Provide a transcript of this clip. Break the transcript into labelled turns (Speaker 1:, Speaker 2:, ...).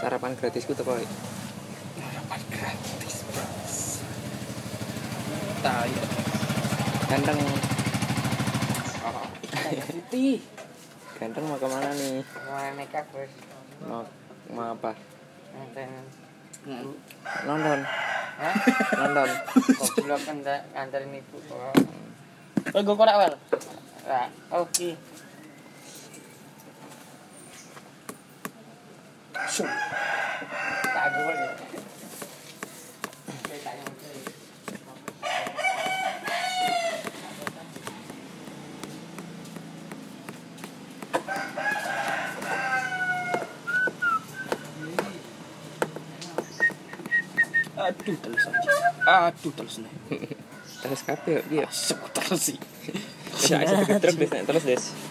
Speaker 1: sarapan gratisku tuh kok
Speaker 2: Sarapan gratis, bro. Tai.
Speaker 1: ganteng
Speaker 2: Oh, tai putih.
Speaker 1: ganteng mau kemana nih
Speaker 3: Mulai make up wes.
Speaker 1: mau mau apa
Speaker 3: Nonton
Speaker 2: Ngaru.
Speaker 1: nonton
Speaker 3: Hah?
Speaker 1: nonton
Speaker 3: Goblok kan tak antarin ibu. Oh.
Speaker 2: Oh, gue korak, Wel.
Speaker 3: Lah, oke.
Speaker 2: Syum.
Speaker 3: Tak gue ya.
Speaker 2: Aduh, terus aja. Aduh, terus nih.
Speaker 1: terus kafe yuk iya
Speaker 2: Asep terus sih. Iya.
Speaker 1: Bisa aja
Speaker 2: Siapa
Speaker 1: terus des terus des